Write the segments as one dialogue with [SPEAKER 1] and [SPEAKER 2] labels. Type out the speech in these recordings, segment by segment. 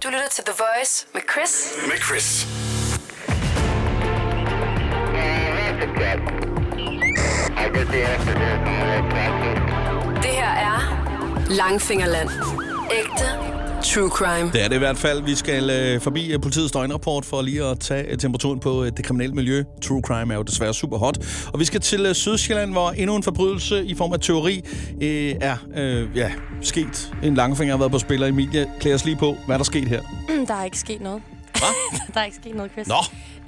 [SPEAKER 1] Du lytter til The Voice med Chris.
[SPEAKER 2] Med Chris.
[SPEAKER 1] Det her er Langfingerland. Ægte true crime.
[SPEAKER 3] Det er det i hvert fald. Vi skal øh, forbi øh, politiets døgnrapport for lige at tage øh, temperaturen på øh, det kriminelle miljø. True crime er jo desværre super hot. Og vi skal til øh, Sydsjælland, hvor endnu en forbrydelse i form af teori øh, er øh, ja, sket. En langfinger har været på spil, og Emilie klæder os lige på, hvad der er sket her.
[SPEAKER 4] Der er ikke sket noget. Hvad? der er ikke sket noget, Chris.
[SPEAKER 3] Nå,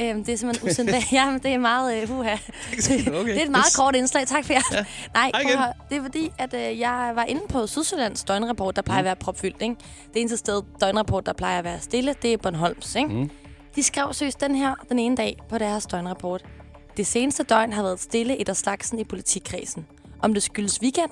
[SPEAKER 4] Øhm, det er simpelthen usædvanligt. Jamen, det er meget uh, uha.
[SPEAKER 3] sket noget, okay.
[SPEAKER 4] det er et meget kort indslag. Tak for jer. Ja. Nej, prøv at
[SPEAKER 3] igen.
[SPEAKER 4] høre. det er fordi, at øh, jeg var inde på Sydsjællands døgnrapport, der plejer at være propfyldt. Ikke? Det eneste sted, døgnrapport, der plejer at være stille, det er Bornholms. Ikke? Mm. De skrev søs den her den ene dag på deres døgnrapport. Det seneste døgn har været stille et af slagsen i politikredsen. Om det skyldes weekend,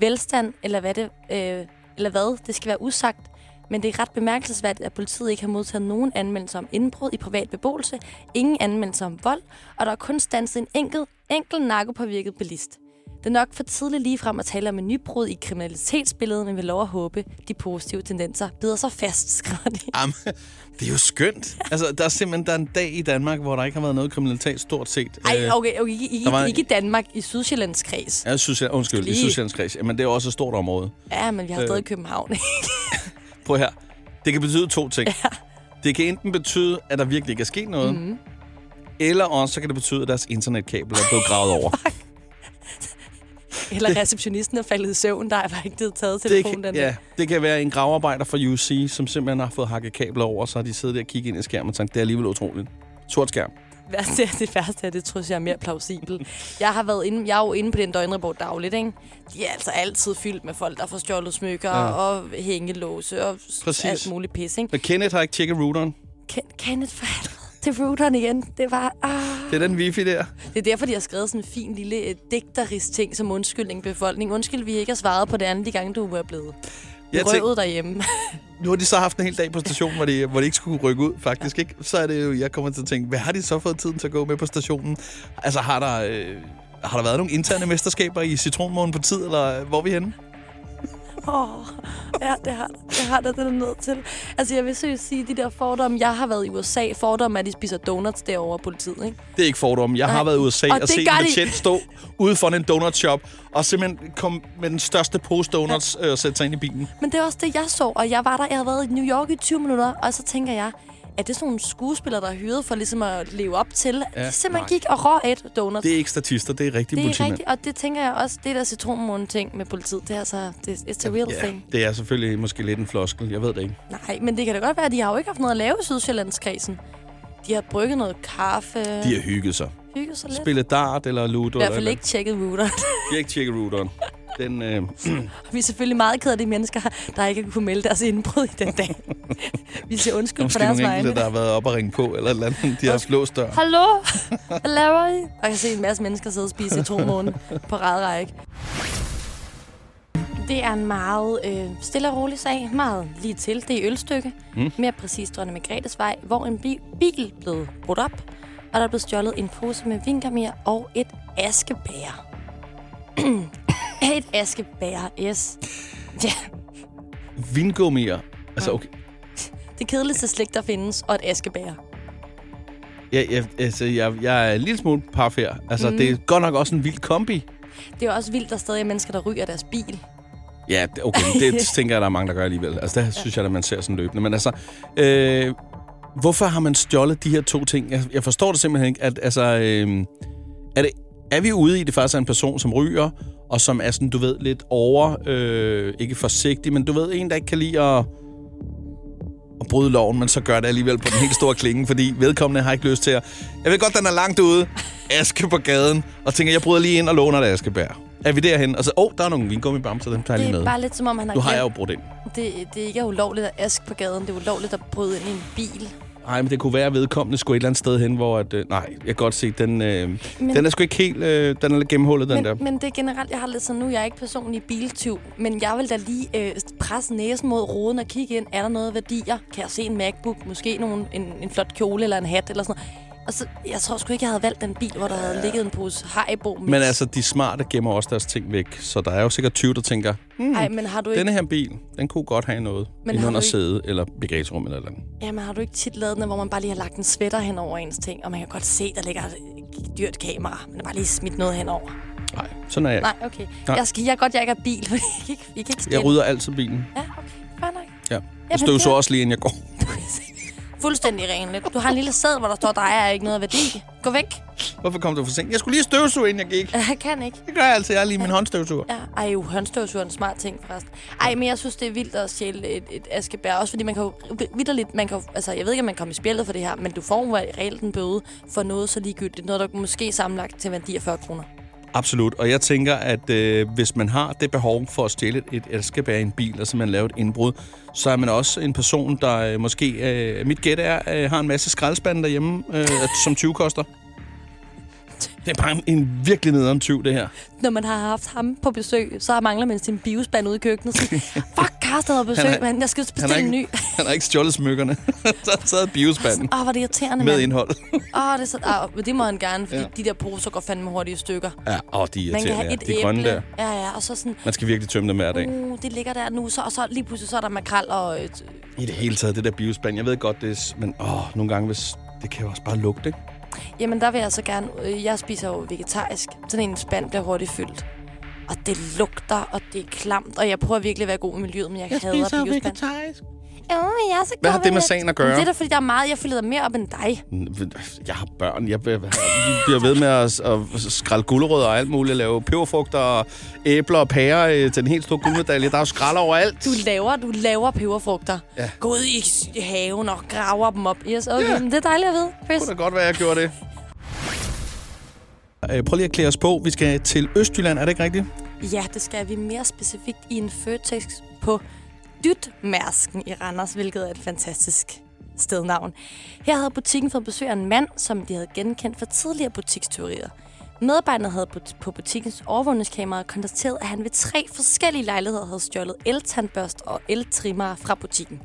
[SPEAKER 4] velstand eller hvad, det, øh, eller hvad, det skal være usagt. Men det er ret bemærkelsesværdigt, at politiet ikke har modtaget nogen anmeldelse om indbrud i privat beboelse, ingen anmeldelse om vold, og der er kun stanset en enkelt, enkelt narkopåvirket bilist. Det er nok for tidligt lige frem at tale om en nybrud i kriminalitetsbilledet, men vi lover at håbe, de positive tendenser bider sig fast, skriver de.
[SPEAKER 3] Am, det er jo skønt. Altså, der er simpelthen der er en dag i Danmark, hvor der ikke har været noget kriminalitet stort set. øh,
[SPEAKER 4] Ej, okay, okay ikke, ikke,
[SPEAKER 3] der var-
[SPEAKER 4] ikke i Danmark, i Sydsjællands kreds.
[SPEAKER 3] Jeg synes, jeg, undskyld, i
[SPEAKER 4] Lige.
[SPEAKER 3] Sydsjællandskreds. Men det er jo også et stort område.
[SPEAKER 4] Ja, men vi har
[SPEAKER 3] Øh.
[SPEAKER 4] stadig København.
[SPEAKER 3] Prøv her. Det kan betyde to ting. Ja. Det kan enten betyde, at der virkelig ikke er sket noget, mm-hmm. eller også så kan det betyde, at deres internetkabel er blevet gravet over.
[SPEAKER 4] Eller receptionisten er faldet i søvn, der er bare ikke blevet taget
[SPEAKER 3] Det
[SPEAKER 4] telefonen.
[SPEAKER 3] kan,
[SPEAKER 4] den
[SPEAKER 3] ja, det kan være en gravearbejder fra UC, som simpelthen har fået hakket kabler over, og så har de siddet der og kigget ind i skærmen og tænkt, det er alligevel utroligt. Sort skærm.
[SPEAKER 4] værste er det værste er, det synes jeg er mere plausibelt. Jeg har været inde, jeg er jo inde på den døgnrapport dagligt, ikke? De er altså altid fyldt med folk, der får stjålet smykker ja. og hængelåse og s-
[SPEAKER 3] Præcis.
[SPEAKER 4] alt muligt pis, ikke?
[SPEAKER 3] Men Kenneth har ikke tjekket routeren.
[SPEAKER 4] Ken- Kenneth for helvede. Det er routeren igen. Det var... Ah.
[SPEAKER 3] Det er den wifi der.
[SPEAKER 4] Det er derfor, de har skrevet sådan en fin lille øh, digterisk ting som undskyldning befolkning. Undskyld, vi ikke har svaret på det andet de gange, du er blevet
[SPEAKER 3] Jeg
[SPEAKER 4] røvet
[SPEAKER 3] tænkte,
[SPEAKER 4] derhjemme.
[SPEAKER 3] nu har de så haft en hel dag på stationen, hvor de, hvor de ikke skulle rykke ud, faktisk. Ikke? Så er det jo, jeg kommer til at tænke, hvad har de så fået tiden til at gå med på stationen? Altså, har der, øh, har der været nogle interne mesterskaber i citronmånen på tid, eller hvor er vi henne?
[SPEAKER 4] Åh, oh, ja, det har, det har der, den er nødt til. Altså, jeg vil seriøst sige, de der fordomme, jeg har været i USA, fordomme er, at de spiser donuts derovre i politiet, ikke?
[SPEAKER 3] Det er ikke fordomme. Jeg har
[SPEAKER 4] Nej.
[SPEAKER 3] været i USA og,
[SPEAKER 4] Og
[SPEAKER 3] og
[SPEAKER 4] det
[SPEAKER 3] set
[SPEAKER 4] gør
[SPEAKER 3] en
[SPEAKER 4] de.
[SPEAKER 3] betjent stå ude for en donut shop og simpelthen komme med den største pose donuts øh, og sætte sig ind i bilen.
[SPEAKER 4] Men det er også det, jeg så, og jeg var der, jeg havde været i New York i 20 minutter, og så tænker jeg, er det sådan nogle skuespillere, der er hyret for ligesom at leve op til?
[SPEAKER 3] Ja,
[SPEAKER 4] Ja, de simpelthen
[SPEAKER 3] nej.
[SPEAKER 4] nej. gik og rå et donuts.
[SPEAKER 3] Det er ikke statister, det er rigtige
[SPEAKER 4] det er
[SPEAKER 3] politimænd.
[SPEAKER 4] rigtigt, og det tænker jeg også, det der citronmåne ting med politiet, det er altså, det, it's a real thing.
[SPEAKER 3] det er selvfølgelig måske lidt en floskel, jeg ved det ikke.
[SPEAKER 4] Nej, men det kan da godt være, at de har jo ikke haft noget at lave i Sydsjællandskredsen. De har brygget noget kaffe,
[SPEAKER 3] De
[SPEAKER 4] de
[SPEAKER 3] har hygget sig.
[SPEAKER 4] hygget sig lidt. I
[SPEAKER 3] Spillet dart eller ludo.
[SPEAKER 4] hvert fald
[SPEAKER 3] eller
[SPEAKER 4] ikke tjekket routeren.
[SPEAKER 3] De har ikke tjekket routeren. Den, øh,
[SPEAKER 4] Vi er selvfølgelig meget kede af de mennesker, der ikke kunne melde deres indbrud i den dag. Vi siger
[SPEAKER 3] Der er
[SPEAKER 4] undskyld på
[SPEAKER 3] måske
[SPEAKER 4] deres
[SPEAKER 3] nogle
[SPEAKER 4] vegne.
[SPEAKER 3] enkelte, der har været op og ringe på, eller et eller andet. De har haft låst dør.
[SPEAKER 4] Hallo? Hvad laver I? Og jeg kan se en masse mennesker sidde og spise i to måneder på række. Det er en meget øh, stille og rolig sag. Meget lige til. Det er i Ølstykke. Mm. Mere præcis Dronning Margrethes Vej, hvor en bi- bil blev brudt op, og der blev stjålet en pose med vinkermere og et askebær. et askebær, yes. Ja.
[SPEAKER 3] Vingummier. Altså, okay.
[SPEAKER 4] Det kedeligste slik, der findes, og et askebær.
[SPEAKER 3] Jeg, jeg, altså, jeg, jeg er en lille smule paf her. Altså, mm. det er godt nok også en vild kombi.
[SPEAKER 4] Det er jo også vildt, der stadig er mennesker, der ryger deres bil.
[SPEAKER 3] Ja, det- okay, men det tænker jeg, der er mange, der gør alligevel. Altså, det synes jeg, at man ser sådan løbende. Men altså, øh, hvorfor har man stjålet de her to ting? Jeg, jeg forstår det simpelthen ikke. At, altså, øh, er, det, er vi ude i, at det faktisk er en person, som ryger, og som er sådan, du ved, lidt over, øh, ikke forsigtig, men du ved, en, der ikke kan lide at, at bryde loven, men så gør det alligevel på den helt store klinge, fordi vedkommende har ikke lyst til at... Jeg ved godt, den er langt ude, aske på gaden, og tænker, jeg bryder lige ind og låner et askebær. Er vi derhen? Og så, åh, oh, der er nogle vingummibamser, dem tager jeg
[SPEAKER 4] Det
[SPEAKER 3] lige med.
[SPEAKER 4] er bare lidt som om, han har,
[SPEAKER 3] Nu har jeg jo
[SPEAKER 4] glemt-
[SPEAKER 3] brugt ind.
[SPEAKER 4] det, det ikke er ulovligt at aske på gaden. Det er ulovligt at bryde ind i en bil.
[SPEAKER 3] Nej, men det kunne være, at vedkommende skulle et eller andet sted hen, hvor... At, øh, nej, jeg kan godt se, den, øh, men,
[SPEAKER 4] Men-
[SPEAKER 3] den er sgu ikke helt... Øh, den er lidt gennemhullet, den
[SPEAKER 4] men,
[SPEAKER 3] der.
[SPEAKER 4] men det er generelt, jeg har lidt sådan, nu er jeg ikke personlig biltyv, men jeg vil da lige øh, presse næsen mod roden og kigge ind. Er der noget værdier? Kan jeg se en MacBook? Måske nogen, en, en flot kjole eller en hat eller sådan noget? Og så, jeg tror sgu ikke, jeg havde valgt den bil, hvor der havde ligget en pose Haribo. Mix.
[SPEAKER 3] Men altså, de smarte gemmer også deres ting væk, så der er jo sikkert 20, der tænker, mm,
[SPEAKER 4] Ej, men har du ikke,
[SPEAKER 3] denne her bil, den kunne godt have noget
[SPEAKER 4] har
[SPEAKER 3] inde under
[SPEAKER 4] du ikke-
[SPEAKER 3] sæde eller bagagerum eller noget.
[SPEAKER 4] jamen, har du ikke tit lavet den, hvor man bare lige har lagt en sweater hen over ens ting, og man kan godt se, der ligger et dyrt kamera, men der bare lige smidt noget henover?
[SPEAKER 3] Nej, sådan er jeg.
[SPEAKER 4] Nej, okay.
[SPEAKER 3] Nej.
[SPEAKER 4] Jeg, skal, jeg er godt, jeg ikke er bil, for I kan ikke, I kan ikke
[SPEAKER 3] Jeg
[SPEAKER 4] stille.
[SPEAKER 3] rydder altid bilen.
[SPEAKER 4] Ja, okay. Fair nok.
[SPEAKER 3] Ja.
[SPEAKER 4] men
[SPEAKER 3] Jeg støvsuger
[SPEAKER 4] det-
[SPEAKER 3] også lige, inden jeg går.
[SPEAKER 4] Fuldstændig renligt. Du har en lille sæd, hvor der står, der er ikke noget værdi. Gå væk.
[SPEAKER 3] Hvorfor kom du for sent? Jeg skulle lige støvsuge, inden jeg gik.
[SPEAKER 4] Jeg kan ikke.
[SPEAKER 3] Det gør jeg altid. Jeg har lige min håndstøvsuger.
[SPEAKER 4] Ja, ej, jo, håndstøvsuger er en smart ting, forresten. Ej, men jeg synes, det er vildt at stjæle et, et askebær. Også fordi man kan jo vidderligt, man kan jo, altså, jeg ved ikke, om man kommer i spjældet for det her, men du får jo reelt en bøde for noget så ligegyldigt. Noget, der måske er sammenlagt til en værdi af 40 kroner.
[SPEAKER 3] Absolut, og jeg tænker, at øh, hvis man har det behov for at stjæle et elskebær i en bil, og simpelthen lave et indbrud, så er man også en person, der øh, måske, øh, mit gæt er, øh, har en masse skraldespande derhjemme, øh, at- som 20 koster. Det er bare en, en virkelig nederen 20, det her.
[SPEAKER 4] Når man har haft ham på besøg, så mangler man sin biospand ude i køkkenet. Sådan, Fuck, Karsten havde
[SPEAKER 3] Han
[SPEAKER 4] besøg,
[SPEAKER 3] har-
[SPEAKER 4] mand. Jeg skal
[SPEAKER 3] Han har
[SPEAKER 4] bestille en ny.
[SPEAKER 3] ikke, han har ikke stjålet smykkerne. så har han taget biospanden
[SPEAKER 4] Åh, oh, var det irriterende,
[SPEAKER 3] med
[SPEAKER 4] mand.
[SPEAKER 3] indhold.
[SPEAKER 4] Åh, oh, det, er så, oh, men det må han gerne, fordi
[SPEAKER 3] Ja.
[SPEAKER 4] ja. de der poser går fandme hurtigt i stykker.
[SPEAKER 3] ja, åh, de er
[SPEAKER 4] Man kan
[SPEAKER 3] irriterende.
[SPEAKER 4] have
[SPEAKER 3] ja.
[SPEAKER 4] et
[SPEAKER 3] De grønne
[SPEAKER 4] æble.
[SPEAKER 3] der.
[SPEAKER 4] Ja, ja, og så sådan,
[SPEAKER 3] Man skal virkelig tømme dem hver dag.
[SPEAKER 4] uh, det ligger der nu, så, og så lige pludselig så er der makrel og... Øh,
[SPEAKER 3] I det hele taget, det der biospand. Jeg ved godt, det er, s- men åh, nogle gange, hvis, det kan jo også bare lugte, ikke?
[SPEAKER 4] jamen, der vil jeg så gerne... Øh, jeg spiser jo vegetarisk. Sådan en spand bliver hurtigt fyldt. Og det lugter, og det er klamt, og jeg prøver virkelig at være god i miljøet, men jeg, jeg hader biospand.
[SPEAKER 3] vegetarisk.
[SPEAKER 4] Åh, jeg er så
[SPEAKER 3] Hvad
[SPEAKER 4] god
[SPEAKER 3] har det med
[SPEAKER 4] veget-
[SPEAKER 3] sagen at gøre?
[SPEAKER 4] Men Det er da, fordi der er meget, jeg fylder mere op end dig.
[SPEAKER 3] Jeg har børn. Jeg bliver- jeg bliver ved med at, at skralde gulerødder og alt muligt. Lave peberfrugter og æbler og pærer øh, til den helt store guldmedalje. Der er jo skrald overalt.
[SPEAKER 4] Du laver, du laver peberfrugter.
[SPEAKER 3] Ja.
[SPEAKER 4] Gå ud i s- i haven og graver dem op. Yes, okay,
[SPEAKER 3] Ja.
[SPEAKER 4] men det er dejligt at vide, Chris.
[SPEAKER 3] kunne da godt være, jeg gjorde det. Øh, Prøv lige at klæde os på. Vi skal til Østjylland, er det ikke rigtigt?
[SPEAKER 4] Ja, det skal vi mere specifikt i en Føtex på Dytmærsken i Randers, hvilket er et fantastisk stednavn. Her havde butikken fået besøg af en mand, som de havde genkendt fra tidligere butikstyverier. Medarbejderne havde på- på butikkens overvågningskamera konstateret, at han ved tre forskellige lejligheder havde stjålet el-tandbørst og el-trimmer fra butikken.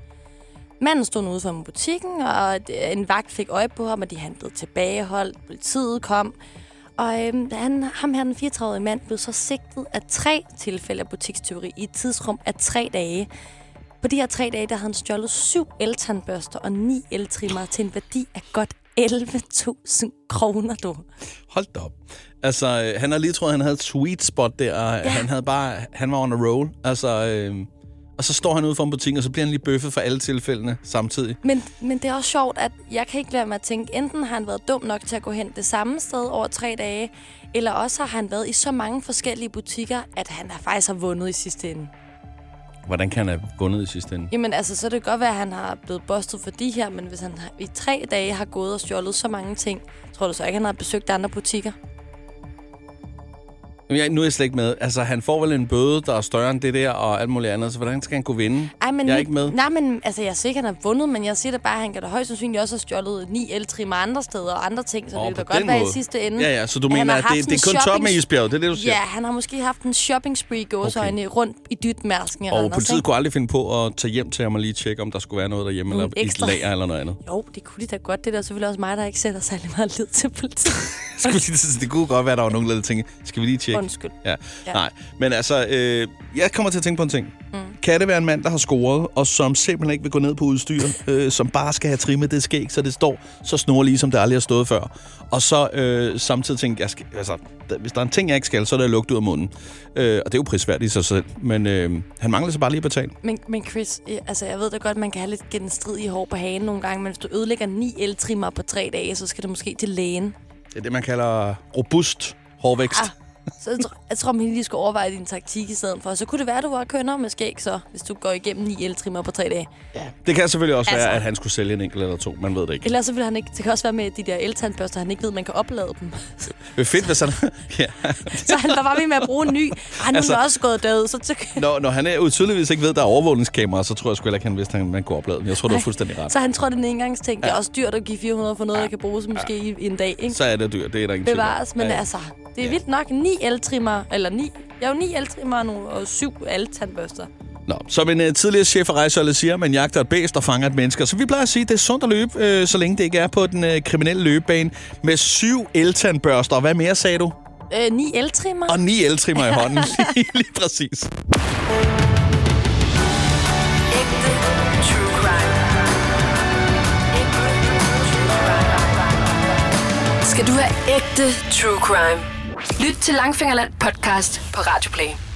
[SPEAKER 4] Manden stod nu ude for butikken, og øh, en vagt fik øje på ham, og de handlede tilbageholdt. Politiet kom, og øhm, han, ham her, den 34-årige mand, blev så sigtet af tre tilfælde af butikstyveri i et tidsrum af tre dage. På de her tre dage, der havde han stjålet syv eltandbørster og ni eltrimmer til en værdi af godt 11.000 kroner, du.
[SPEAKER 3] Hold da op. Altså, øh, han har lige troet, han havde et sweet spot der. Og ja. han, havde bare, han var on a roll. Altså, øh, og så står han ude for en butik, og så bliver han lige bøffet for alle tilfældene samtidig.
[SPEAKER 4] Men, men det er også sjovt, at jeg kan ikke lade mig at tænke, enten har han været dum nok til at gå hen det samme sted over tre dage, eller også har han været i så mange forskellige butikker, at han har faktisk har vundet i sidste ende.
[SPEAKER 3] Hvordan kan han have vundet i sidste ende?
[SPEAKER 4] Jamen altså, så er det godt være, at han har blevet bustet for de her, men hvis han har- i tre dage har gået og stjålet så mange ting, tror du så ikke, han har besøgt andre butikker?
[SPEAKER 3] Jamen, jeg, nu er jeg slet ikke med. Altså, han får vel en bøde, der er større end det der og alt muligt andet, så hvordan skal han kunne vinde?
[SPEAKER 4] Ej, men
[SPEAKER 3] jeg er
[SPEAKER 4] nu-
[SPEAKER 3] ikke med.
[SPEAKER 4] Nej, men altså, jeg siger ikke, han har vundet, men jeg siger da bare, at han kan da højst sandsynligt også have stjålet ni eltrimmer andre steder og andre ting, så
[SPEAKER 3] Åh,
[SPEAKER 4] det vil
[SPEAKER 3] på
[SPEAKER 4] da godt
[SPEAKER 3] den
[SPEAKER 4] være i
[SPEAKER 3] måde.
[SPEAKER 4] sidste ende.
[SPEAKER 3] Ja, ja, så du
[SPEAKER 4] han
[SPEAKER 3] mener,
[SPEAKER 4] har
[SPEAKER 3] at
[SPEAKER 4] haft
[SPEAKER 3] det,
[SPEAKER 4] en
[SPEAKER 3] det er kun toppen af
[SPEAKER 4] shopping-
[SPEAKER 3] isbjerget, det er det, du siger?
[SPEAKER 4] Ja, han har måske haft en shopping spree gåsøjne okay. rundt i dyt mærsken i
[SPEAKER 3] Og
[SPEAKER 4] Randers,
[SPEAKER 3] politiet
[SPEAKER 4] ikke?
[SPEAKER 3] kunne aldrig finde på at tage hjem til ham og lige tjekke, om der skulle være noget derhjemme, eller i et
[SPEAKER 4] ekstra.
[SPEAKER 3] lager eller noget andet.
[SPEAKER 4] Jo, det kunne de da godt. Det er da selvfølgelig også mig, der ikke sætter særlig meget lid til politiet.
[SPEAKER 3] Skulle lige til at sige, det kunne godt være, der var nogen, der tænkte, skal vi lige tjekke?
[SPEAKER 4] Undskyld.
[SPEAKER 3] Ja. ja.
[SPEAKER 4] Ja.
[SPEAKER 3] Nej, men altså, øh, jeg kommer til at tænke på en ting. Mm. Kan det være en mand, der har scoret, og som simpelthen ikke vil gå ned på udstyr, øh, som bare skal have trimmet det skæg, så det står så snorlige, som det aldrig har stået før? Og så øh, samtidig tænke, jeg skal, altså, der, hvis der er en ting, jeg ikke skal, så er det at lugte ud af munden. Øh, og det er jo prisværdigt i sig selv, men øh, han mangler så bare lige at betale.
[SPEAKER 4] Men, men Chris, øh, altså jeg ved da godt, man kan have lidt genstrid i hår på hagen nogle gange, men hvis du ødelægger ni eltrimmer på tre dage, så skal du måske til lægen.
[SPEAKER 3] Det er det, man kalder robust hårvækst.
[SPEAKER 4] Ah, så jeg, tror, jeg tror, man lige skal overveje din taktik i stedet for. Så kunne det være, at du var kønner med skæg så, hvis du går igennem ni eltrimmer på tre dage.
[SPEAKER 3] Det kan selvfølgelig også altså...
[SPEAKER 4] Altså-
[SPEAKER 3] være, at han skulle sælge en enkelt eller to, man ved det ikke.
[SPEAKER 4] Ellers så vil han ikke, det kan også være med de der eltandbørster, han ikke ved, man kan oplade dem.
[SPEAKER 3] Det er fedt, hvis han... ja.
[SPEAKER 4] så han der var ved med at bruge en ny. Ej, nu altså,
[SPEAKER 3] Altså-
[SPEAKER 4] er jeg også gået død, så så-
[SPEAKER 3] Når, når han er, jo tydeligvis ikke ved, at der er overvågningskameraer, så tror jeg sgu heller ikke, han vidste, at man kunne oplade dem. Jeg tror, du har fuldstændig ret.
[SPEAKER 4] så han tror, det er en engangsting. Det er også dyrt at give 400 for noget, jeg kan bruge som måske i i en dag, ikke?
[SPEAKER 3] Så er det dyrt, det er der ingen tvivl om.
[SPEAKER 4] bevares, men
[SPEAKER 3] Ja,
[SPEAKER 4] ja.
[SPEAKER 3] ja.
[SPEAKER 4] altså, det er
[SPEAKER 3] Ja.
[SPEAKER 4] ja. vildt nok. Ni eltrimmer, eller ni, jeg er jo ni eltrimmer nu, og syv alle tandbørster.
[SPEAKER 3] Nå, som en uh, tidligere chef for rejseholdet siger, man jagter et bæst og fanger et menneske. Så vi plejer at sige, at det er sundt at løbe, øh, så længe det ikke er på den øh, kriminelle løbebane. Med syv eltandbørster. Hvad mere sagde du?
[SPEAKER 4] Øh, ni eltrimmer.
[SPEAKER 3] Og ni eltrimmer i hånden. lige, lige præcis.
[SPEAKER 1] Ægte true crime. Ægte true crime. Skal du have ægte true crime? Lyt til Langfingerland podcast på Radio Play.